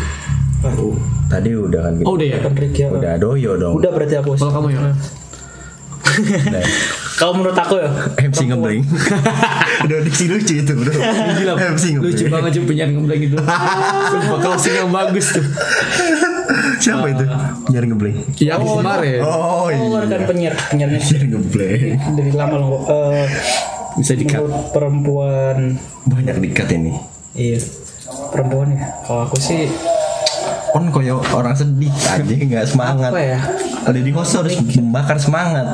Speaker 2: Oh, tadi udah kan gitu.
Speaker 1: Oh udah ya?
Speaker 3: Kan Rick ya.
Speaker 2: Udah doyo dong.
Speaker 3: Udah berarti aku.
Speaker 1: Kalau kamu ya?
Speaker 2: Nah,
Speaker 3: Kalau menurut aku ya.
Speaker 2: MC ngebling. udah di sini lucu itu, bro.
Speaker 1: Gila,
Speaker 2: MC ngebling.
Speaker 1: lucu banget cuy penyiar ngeblank itu gitu. Sumpah closing yang bagus tuh
Speaker 2: Siapa itu? Nyari ngebling.
Speaker 1: Yang kemarin
Speaker 3: Oh,
Speaker 2: Oh, iya.
Speaker 3: kan penyiar penyiarnya sih
Speaker 2: Nyari ngebling.
Speaker 3: dari lama loh. Eh,
Speaker 1: Bisa di cut
Speaker 3: menurut perempuan
Speaker 2: Banyak dikat ini.
Speaker 3: iya perempuan ya. Kalau aku sih
Speaker 2: Kon koyo orang sedih aja nggak semangat.
Speaker 3: Apa ya?
Speaker 2: Ada di host harus membakar semangat.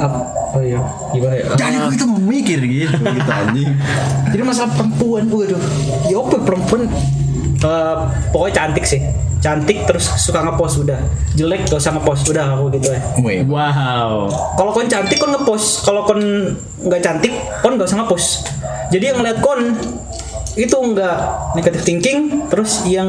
Speaker 3: ap- oh iya gimana ya?
Speaker 2: Jadi kok kita mikir gitu gitu anjing.
Speaker 3: Jadi masalah perempuan waduh. Ya apa perempuan eh, pokoknya cantik sih. Cantik terus suka ngepost udah. Jelek gak usah ngepost udah aku gitu ya.
Speaker 2: Weh,
Speaker 1: Wow
Speaker 3: Kalau kon cantik kon ngepost, kalau kon nggak cantik kon gak usah ngepost. Jadi yang ngeliat kon itu nggak negative thinking terus yang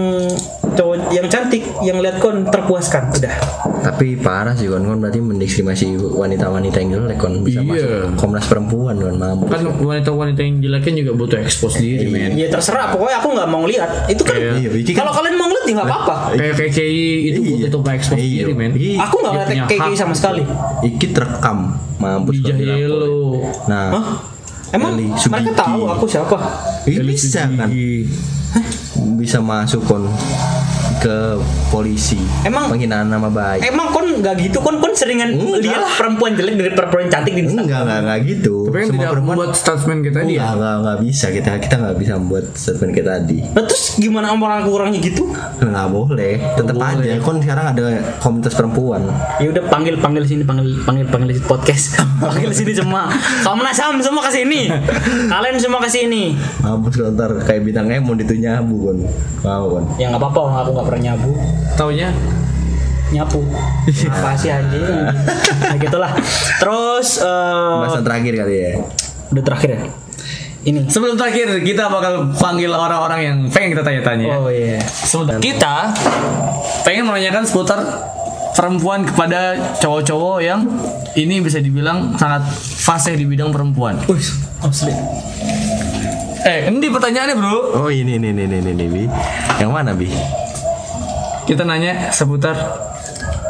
Speaker 3: cowok yang cantik yang lihat kon terpuaskan udah
Speaker 2: Tapi parah sih kon kon berarti mendiskriminasi wanita-wanita yang jelek kon bisa
Speaker 1: Iya.
Speaker 2: masuk Komnas perempuan kon mampu.
Speaker 1: Kan wanita-wanita yang jeleknya juga butuh expose diri men
Speaker 3: ya terserah pokoknya aku nggak mau lihat itu kan
Speaker 1: Iya.
Speaker 2: Iya, Wiki kan-
Speaker 3: kalau kalian mau lihat ya nggak apa-apa
Speaker 1: Kayak kayak KKI itu butuh
Speaker 2: Iya.
Speaker 1: tuh expose
Speaker 2: Iya.
Speaker 1: diri men
Speaker 2: Iya.
Speaker 3: aku nggak
Speaker 1: Dia
Speaker 3: ngeliat
Speaker 1: punya
Speaker 3: kayak
Speaker 1: hak.
Speaker 3: gini sama sekali
Speaker 2: Iki terekam mampus kalau
Speaker 1: Dijahil
Speaker 2: dilaporin.
Speaker 1: lo
Speaker 2: Nah,
Speaker 3: Hah? Emang
Speaker 2: Eli
Speaker 3: mereka
Speaker 2: Sugiki.
Speaker 3: tahu aku siapa?
Speaker 2: ini bisa kan bisa masuk kon ke polisi.
Speaker 3: Emang-
Speaker 2: penghinaan nama baik.
Speaker 3: Emang kon nggak gitu? Kon kon seringan
Speaker 2: Enggak.
Speaker 3: lihat perempuan jelek dari perempuan cantik di Instagram.
Speaker 2: enggak enggak enggak gitu.
Speaker 1: Tapi kan tidak membuat statement kita ya.
Speaker 2: enggak,
Speaker 1: dia
Speaker 2: enggak, enggak bisa kita kita enggak bisa membuat statement kayak tadi.
Speaker 3: Nah, terus gimana orang kurangnya gitu?
Speaker 2: Enggak boleh. Tetap aja kon sekarang ada komunitas perempuan.
Speaker 3: Ya udah panggil panggil sini panggil panggil panggil di podcast. panggil sini semua. Komnas HAM semua ke sini. Kalian semua ke sini.
Speaker 2: Mampus lo ntar kayak bintang emon itu nyabu kon. Mau kon.
Speaker 3: Ya nggak apa-apa, orang aku nggak pernah nyabu.
Speaker 1: Taunya
Speaker 3: Nyapu. Apa sih anjing? Nah, gitulah. Terus eh,
Speaker 2: Bahasan terakhir kali ya.
Speaker 3: udah terakhir ya. Ini.
Speaker 1: Sebelum terakhir kita bakal panggil orang-orang yang pengen kita tanya-tanya
Speaker 3: Oh iya.
Speaker 1: Sebentar. Kita pengen menanyakan seputar perempuan kepada cowok-cowok yang ini bisa dibilang sangat fasih di bidang perempuan.
Speaker 3: Wih, asli.
Speaker 1: Eh, ini pertanyaannya bro.
Speaker 2: Oh ini ini ini ini ini. Bi. Yang mana bi?
Speaker 1: Kita nanya seputar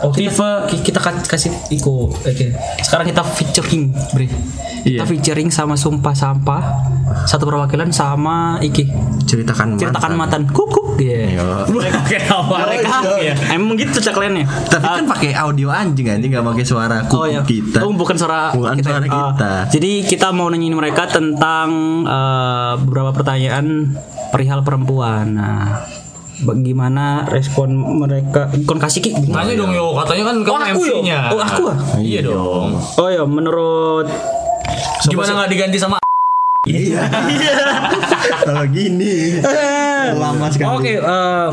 Speaker 3: Oh, kita, kita ka- kasih iko. Oke. Sekarang kita featuring, Bre.
Speaker 1: Iya.
Speaker 3: Kita featuring sama Sumpah Sampah, satu perwakilan sama Iki.
Speaker 2: Ceritakan
Speaker 3: Ceritakan matan kukuk dia.
Speaker 2: Yo.
Speaker 1: Oke, apa?
Speaker 2: Iya,
Speaker 3: Mereka ya. Emang gitu ceklennya.
Speaker 2: Tapi
Speaker 6: Ah.
Speaker 2: kan pakai audio anjing anjing nggak pakai suara kuku
Speaker 6: iya.
Speaker 2: kita.
Speaker 3: Oh, bukan suara
Speaker 2: Bukan
Speaker 3: kita.
Speaker 2: suara
Speaker 3: Ah,
Speaker 2: kita.
Speaker 3: jadi kita mau nanyain mereka tentang eh, beberapa pertanyaan perihal perempuan. Nah, bagaimana respon mereka? Kon kasih Ki.
Speaker 2: Nah.
Speaker 1: Tanya dong yo, katanya kan kamu
Speaker 3: Oh, aku yo.
Speaker 1: MC-nya.
Speaker 3: Oh, aku ah.
Speaker 1: Iya dong.
Speaker 3: Oh ya, menurut
Speaker 1: Gimana nggak diganti sama
Speaker 2: Iya. Kalau gini lama sekali.
Speaker 3: Oke, eh,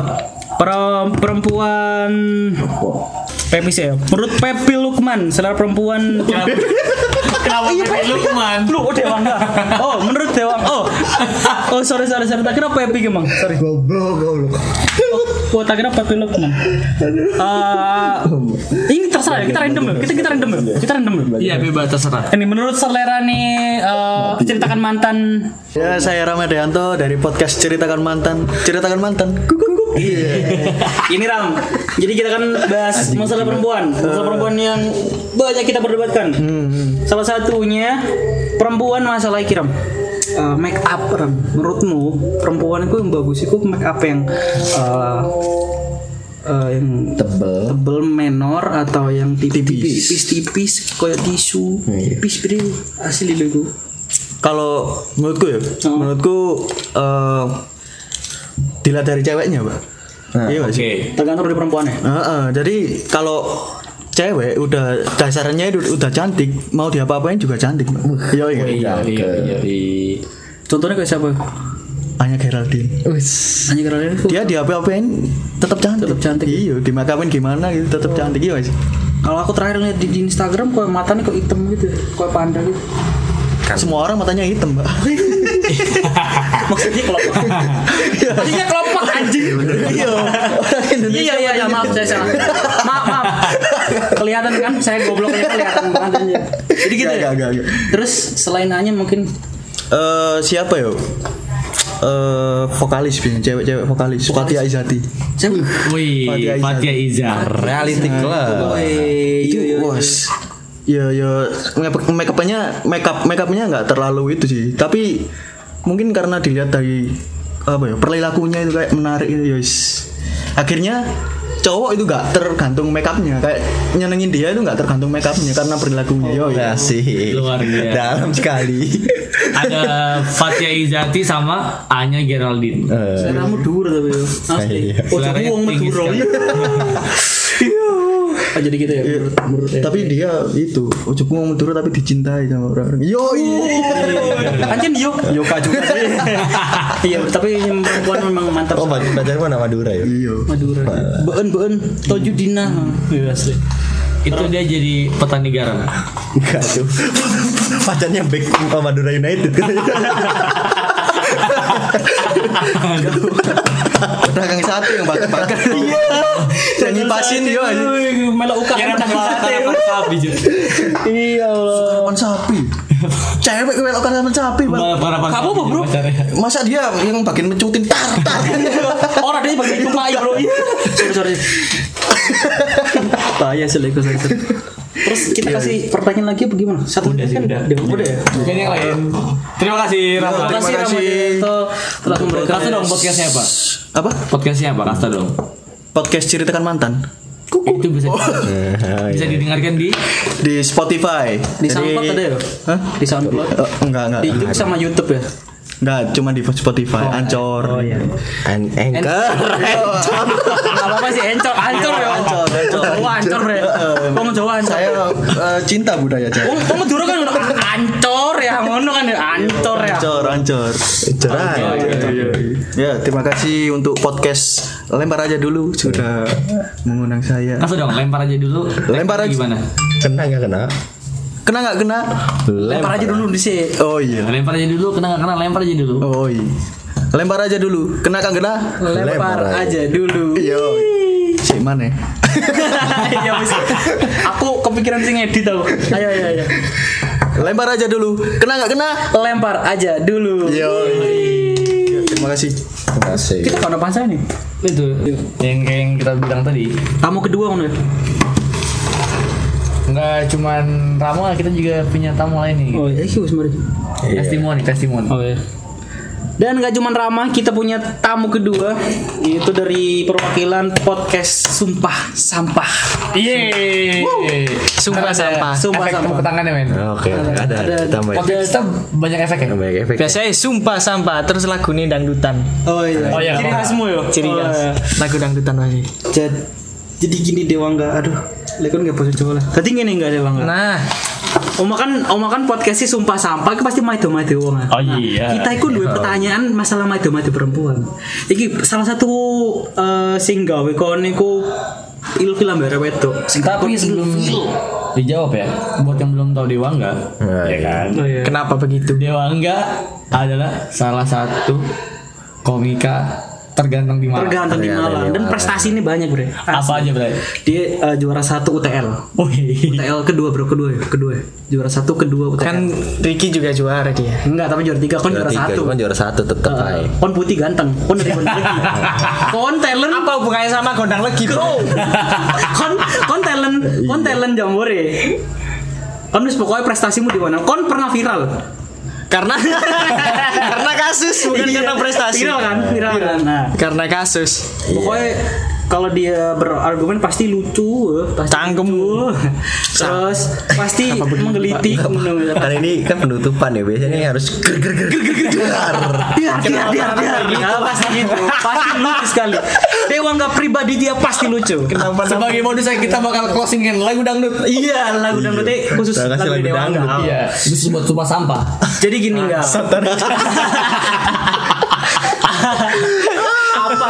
Speaker 3: perem- perempuan Pepis ya. Menurut Pepi Lukman, selera perempuan
Speaker 1: Kenapa Pepi Lukman?
Speaker 3: Lu oh Dewang dah. Oh, menurut Dewang. Oh. Oh, sorry sorry sorry. Tak kira Pepi Gemang. Sorry.
Speaker 2: Goblok goblok.
Speaker 3: Oh, tak kira Pepi Lukman. Eh, ini terserah ya. Kita random ya. Kita kita random ya. Kita random ya.
Speaker 1: Iya, bebas terserah.
Speaker 3: Ini menurut selera nih eh, ceritakan mantan.
Speaker 6: Ya, saya Ramadayanto dari podcast Ceritakan Mantan. Ceritakan Mantan.
Speaker 3: Ini Ram. Jadi kita kan bahas masalah perempuan, masalah perempuan yang banyak kita perdebatkan. Salah satunya perempuan masalah kiram. Eh, make up Ram. Menurutmu perempuan itu yang bagus itu make up yang eh, eh, yang
Speaker 2: Tebel.
Speaker 3: tebel menor atau yang tipis-tipis tipis kayak tisu tipis bre asli lo itu
Speaker 6: Kalau menurutku ya,
Speaker 3: Oh.
Speaker 6: menurutku eh dilihat dari ceweknya, Pak. Iya nggak sih?
Speaker 1: Ah, Oke.
Speaker 3: Tergantung dari ya. perempuannya.
Speaker 6: Heeh, jadi kalau cewek udah dasarnya itu udah cantik, mau diapa-apain juga cantik. Mbak. Iya iya.
Speaker 1: Iya,
Speaker 2: Ya,
Speaker 1: iya, iya.
Speaker 3: Contohnya kayak siapa?
Speaker 6: Hanya Geraldine.
Speaker 3: Hanya karena itu.
Speaker 6: Dia diapa-apain tetap cantik.
Speaker 3: Tetep cantik. Oh.
Speaker 6: Iya, dimakamin gimana gitu tetap cantik iya guys.
Speaker 3: Kalau aku terakhir lihat di, di Instagram, kok matanya kok hitam gitu, kok panda gitu.
Speaker 1: Kan.
Speaker 6: Semua orang matanya hitam, Mbak.
Speaker 3: Maksudnya kelopak. Maksudnya kelopak anjing.
Speaker 6: Iya. Orang Indonesia
Speaker 3: Iya iya iya maaf saya salah. Maaf maaf. Kelihatan kan saya gobloknya kelihatan banget anjir. Jadi gitu.
Speaker 6: Gak,
Speaker 3: ya?
Speaker 6: gak, gak, gak.
Speaker 3: Terus selain nanya mungkin
Speaker 6: Eh, siapa yo? Eh, vokalis biasanya cewek-cewek vokalis Fatia Izati
Speaker 3: saya
Speaker 1: Wih,
Speaker 6: Fatia Izar.
Speaker 1: Fatia Izar.
Speaker 2: Ya, reality
Speaker 6: Iya.
Speaker 2: club
Speaker 6: itu bos ya ya make make upnya make up make upnya nggak terlalu itu sih tapi mungkin karena dilihat dari apa ya perilakunya itu kayak menarik itu guys akhirnya cowok itu nggak tergantung make upnya kayak nyenengin dia itu nggak tergantung make upnya karena perilakunya yo
Speaker 2: iya.
Speaker 6: ya
Speaker 2: Asik.
Speaker 1: Luar biasa.
Speaker 2: dalam sekali
Speaker 1: Ada Fatia Izati sama Anya Geraldine.
Speaker 2: Eh,
Speaker 3: saya kamu dur ya? tapi yo. asli.
Speaker 2: Iya.
Speaker 3: Oh,
Speaker 1: Seleranya
Speaker 3: uang
Speaker 1: tinggi
Speaker 3: meduro.
Speaker 1: sekali.
Speaker 3: Oh, jadi gitu ya. Menurut, menurut ya.
Speaker 6: tapi dia itu ujuk mau Madura tapi dicintai sama orang-orang yo iya.
Speaker 3: Anjing yo. Yoka juga sih. Iya, tapi yang perempuan memang mantap.
Speaker 2: oh pad- pacarmu nama Madura ya
Speaker 6: iya
Speaker 3: Madura. Beun beun toju dina. Iya asli.
Speaker 1: Itu dia jadi petani garam.
Speaker 2: enggak tuh pacarnya back oh, Madura United
Speaker 6: dagang satu yang bakar-bakar iya yang ngipasin yo
Speaker 3: Melo ukah.
Speaker 6: iya Allah Sarapan sapi cewek kelokan sama sapi bang
Speaker 1: Kamu
Speaker 3: Kamu apa, Bro?
Speaker 6: masa dia yang bagian mencutin tar tar
Speaker 3: Orang dia bagi rumah ya bro. Iya. Sorry sorry. Bahaya sih Lego sorry, sorry. Terus kita kasih pertanyaan lagi apa gimana? Satu Iya. udah sih udah. Udah ya.
Speaker 1: Mungkin yang lain. Terima kasih
Speaker 6: Iya,
Speaker 1: Rafa.
Speaker 3: Terima kasih Ramadito telah memberikan.
Speaker 1: Kasta dong podcastnya apa?
Speaker 6: apa
Speaker 1: Podcastnya apa? Kasta dong.
Speaker 6: podcast ceritakan mantan
Speaker 1: Itu bisa bisa didengarkan di
Speaker 6: di Spotify
Speaker 3: Di
Speaker 6: Jadi-
Speaker 3: SoundCloud ada ya?
Speaker 6: Hah?
Speaker 3: Di SoundCloud.
Speaker 6: Eh, enggak enggak
Speaker 3: Di Oh, YouTube sama YouTube ya.
Speaker 6: enggak cuma di Spotify ancor
Speaker 3: iya.
Speaker 2: An anchor
Speaker 3: Enggak apa-apa sih encor, ancor ya.
Speaker 6: Ancor, ancor.
Speaker 1: Oh,
Speaker 3: Jawa ancor bre. Wong Jawa ancor.
Speaker 6: saya eh, cinta budaya
Speaker 1: Oh,
Speaker 3: Wong
Speaker 6: cewek
Speaker 3: wong Madura kan udah ancor ya, ngono kan ya ancor ya.
Speaker 6: ancor ancor
Speaker 2: cerah
Speaker 1: Iya,
Speaker 6: Ya, terima kasih untuk podcast lempar aja dulu sudah mengundang saya.
Speaker 1: Kasta dong. Lempar aja dulu.
Speaker 6: Lempar aja.
Speaker 1: Gimana?
Speaker 2: kena nggak kena
Speaker 6: Kena nggak kena?
Speaker 3: Lempar aja dulu di sini.
Speaker 6: Oh iya.
Speaker 1: Lempar aja dulu. Kena nggak kena? Lempar aja dulu.
Speaker 6: Oh iya. Lempar aja dulu. Kena kan kena?
Speaker 3: Lempar
Speaker 2: Lempar
Speaker 3: aja
Speaker 2: aja.
Speaker 3: dulu.
Speaker 6: Yo. Si mana?
Speaker 3: Iya bisa. Aku kepikiran sih ngedit tau. Ayo ayo ayo.
Speaker 6: Lempar aja dulu. Kena nggak kena?
Speaker 3: Lempar aja dulu.
Speaker 6: Yo. Terima kasih.
Speaker 2: asik
Speaker 3: Kita kan apa nih?
Speaker 1: Itu Iya. yang kayak yang kita bilang tadi.
Speaker 3: Tamu kedua kan ya?
Speaker 1: Enggak cuman Ramo, kita juga punya tamu lain nih.
Speaker 3: Oh iya, kius mari.
Speaker 2: Iya.
Speaker 1: Testimoni, testimoni.
Speaker 3: Oh iya. Dan gak cuma ramah, kita punya tamu kedua yaitu dari perwakilan podcast Sumpah Sampah.
Speaker 1: Yeay.
Speaker 3: Sumpah sampah. Sumpah
Speaker 1: efek
Speaker 3: sampah.
Speaker 1: tepuk tangannya men.
Speaker 2: oke ada ada
Speaker 3: Ada.
Speaker 2: tambah ya.
Speaker 1: Podcast kita banyak efek ya.
Speaker 2: banyak efek
Speaker 7: Biasanya sumpah sampah terus lagu ini dangdutan.
Speaker 3: Oh iya.
Speaker 1: Oh iya,
Speaker 3: Ciri
Speaker 1: apa-apa.
Speaker 3: khasmu ya.
Speaker 7: Ciri
Speaker 3: Oh,
Speaker 7: khas.
Speaker 3: iya.
Speaker 7: Lagu dangdutan masih.
Speaker 3: Jadi, jadi gini Dewangga, aduh. Lekon gak posisi cowok lah. kan Tadi gini gak Dewangga.
Speaker 7: Nah,
Speaker 3: Oma kan oma kan podcastnya sumpah sampah itu pasti maido maido wong.
Speaker 1: Oh iya.
Speaker 3: Kita itu dua pertanyaan masalah maido maido perempuan. Iki salah satu eh sing gawe kon iku ilfil ambek arek wedok. Sing
Speaker 1: Tapi
Speaker 3: takut
Speaker 1: sebelum
Speaker 3: ilfil.
Speaker 1: dijawab ya, buat yang belum tahu Dewa enggak,
Speaker 2: Nah,
Speaker 1: ya kan.
Speaker 3: Oh, iya.
Speaker 7: kenapa begitu?
Speaker 1: Dewa enggak adalah salah satu komika terganteng di Malang.
Speaker 3: tergantung di Malang dan prestasi ini banyak bre.
Speaker 1: Apa aja, Bray?
Speaker 3: Dia eh, juara satu UTL.
Speaker 1: Wih.
Speaker 3: UTL kedua bro kedua ya kedua ya. Juara satu kedua UTL.
Speaker 7: Kan Ricky juga juara dia.
Speaker 3: enggak tapi juara tiga kon juara,
Speaker 2: juara tiga
Speaker 3: satu. Eh,
Speaker 2: cuman juara satu Ah. tetap aja
Speaker 3: Kon putih ganteng. Kon dari Kon Legi. Kon talent
Speaker 7: Apa
Speaker 2: Oh,
Speaker 7: hubungannya sama gondang legi, Bro?
Speaker 3: kon kon talent kon talent jambore kon wis pokoknya prestasimu di mana kon pernah viral
Speaker 7: karena karena kasus bukan
Speaker 3: Iya.
Speaker 7: karena prestasi.
Speaker 3: viral kan viral kan nah
Speaker 7: Karena kasus.
Speaker 3: pokoknya kalau dia berargumen pasti lucu, eh. pasti
Speaker 2: Cangkem.
Speaker 3: lucu. Terus pasti menggelitik.
Speaker 8: Kan ini kan penutupan ya biasanya harus ger ger ger ger ger ger.
Speaker 3: Biar, biar, biar, biar. Gitu, pasti gitu. Pasti lucu sekali. Dewa nggak pribadi dia pasti lucu.
Speaker 8: Kenapa
Speaker 9: Sebagai modus kita bakal closing dengan lagu dangdut.
Speaker 3: Iya, lagu dangdutnya khusus
Speaker 8: Kita kasih
Speaker 3: lagu
Speaker 8: lagu
Speaker 3: Dewa
Speaker 8: dangdut.
Speaker 3: Angga.
Speaker 9: Iya. Bisa buat tumpah sampah.
Speaker 3: Jadi gini enggak. apa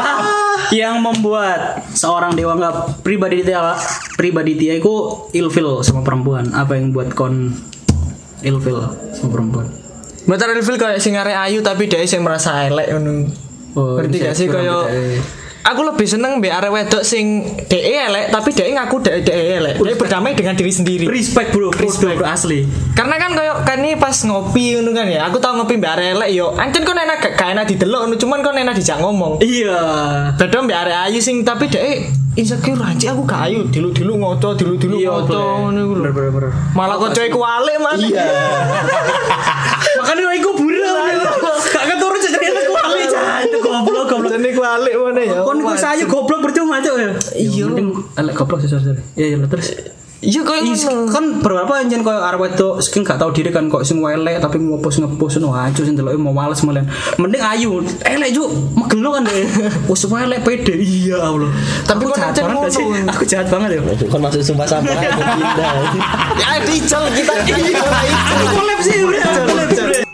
Speaker 3: yang membuat seorang dewa nggak pribadi dia pribadi dia itu ilfil sama perempuan apa yang buat kon ilfil sama perempuan
Speaker 2: Bentar reveal kayak singare ayu tapi dia sing merasa elek ngono.
Speaker 3: Oh,
Speaker 2: Ngerti gak sih
Speaker 3: kurang
Speaker 2: kayak
Speaker 3: bedanya.
Speaker 2: Aku lebih seneng mbek arek wedok sing DE elek tapi DE ngaku DE elek. Dia berdamai dengan diri sendiri.
Speaker 3: respect bro respect bro, asli
Speaker 2: Karena kan kayak kan ini pas ngopi ngono kan ya. Aku tau ngopi mbek arek elek yo. Ancen kon enak gak gak enak didelok ngono cuman kon enak dijak ngomong.
Speaker 3: iya
Speaker 2: Beda mbek arek ayu sing tapi DE insecure anjir aku gak ayu dilu-dilu ngoco dilu-dilu
Speaker 3: iya
Speaker 2: ngoco ngono iku lho.
Speaker 3: bener bener bener
Speaker 2: Malah kocok iku alik man. Iya.
Speaker 3: makanya lah iku buram gak keturun ceritanya aku kali Iya. itu goblok goblok
Speaker 2: Jane iku alik mana ya.
Speaker 3: kon gue sayu goblok percuma cok ya iya elek goblok sih sorry iya iya terus
Speaker 2: Iya koyo
Speaker 3: Is-
Speaker 2: ngono.
Speaker 3: kan berapa anjen koyo arep itu sing gak tau diri kan kok sing elek tapi mau post ngepost no aja sing deloke mau males melen. Mending ayu. Elek juk megelo kan deh. Wes semua elek pede. Iya Allah.
Speaker 2: Tapi
Speaker 3: aku jahat
Speaker 2: kok
Speaker 3: banget
Speaker 2: nancen
Speaker 3: gak sih?
Speaker 2: ngono.
Speaker 3: Aku jahat banget ya.
Speaker 10: Kon masuk sumpah sampah aku pindah.
Speaker 2: Ya dijel kita. Iya.
Speaker 3: Kolab sih udah. Kolab sih.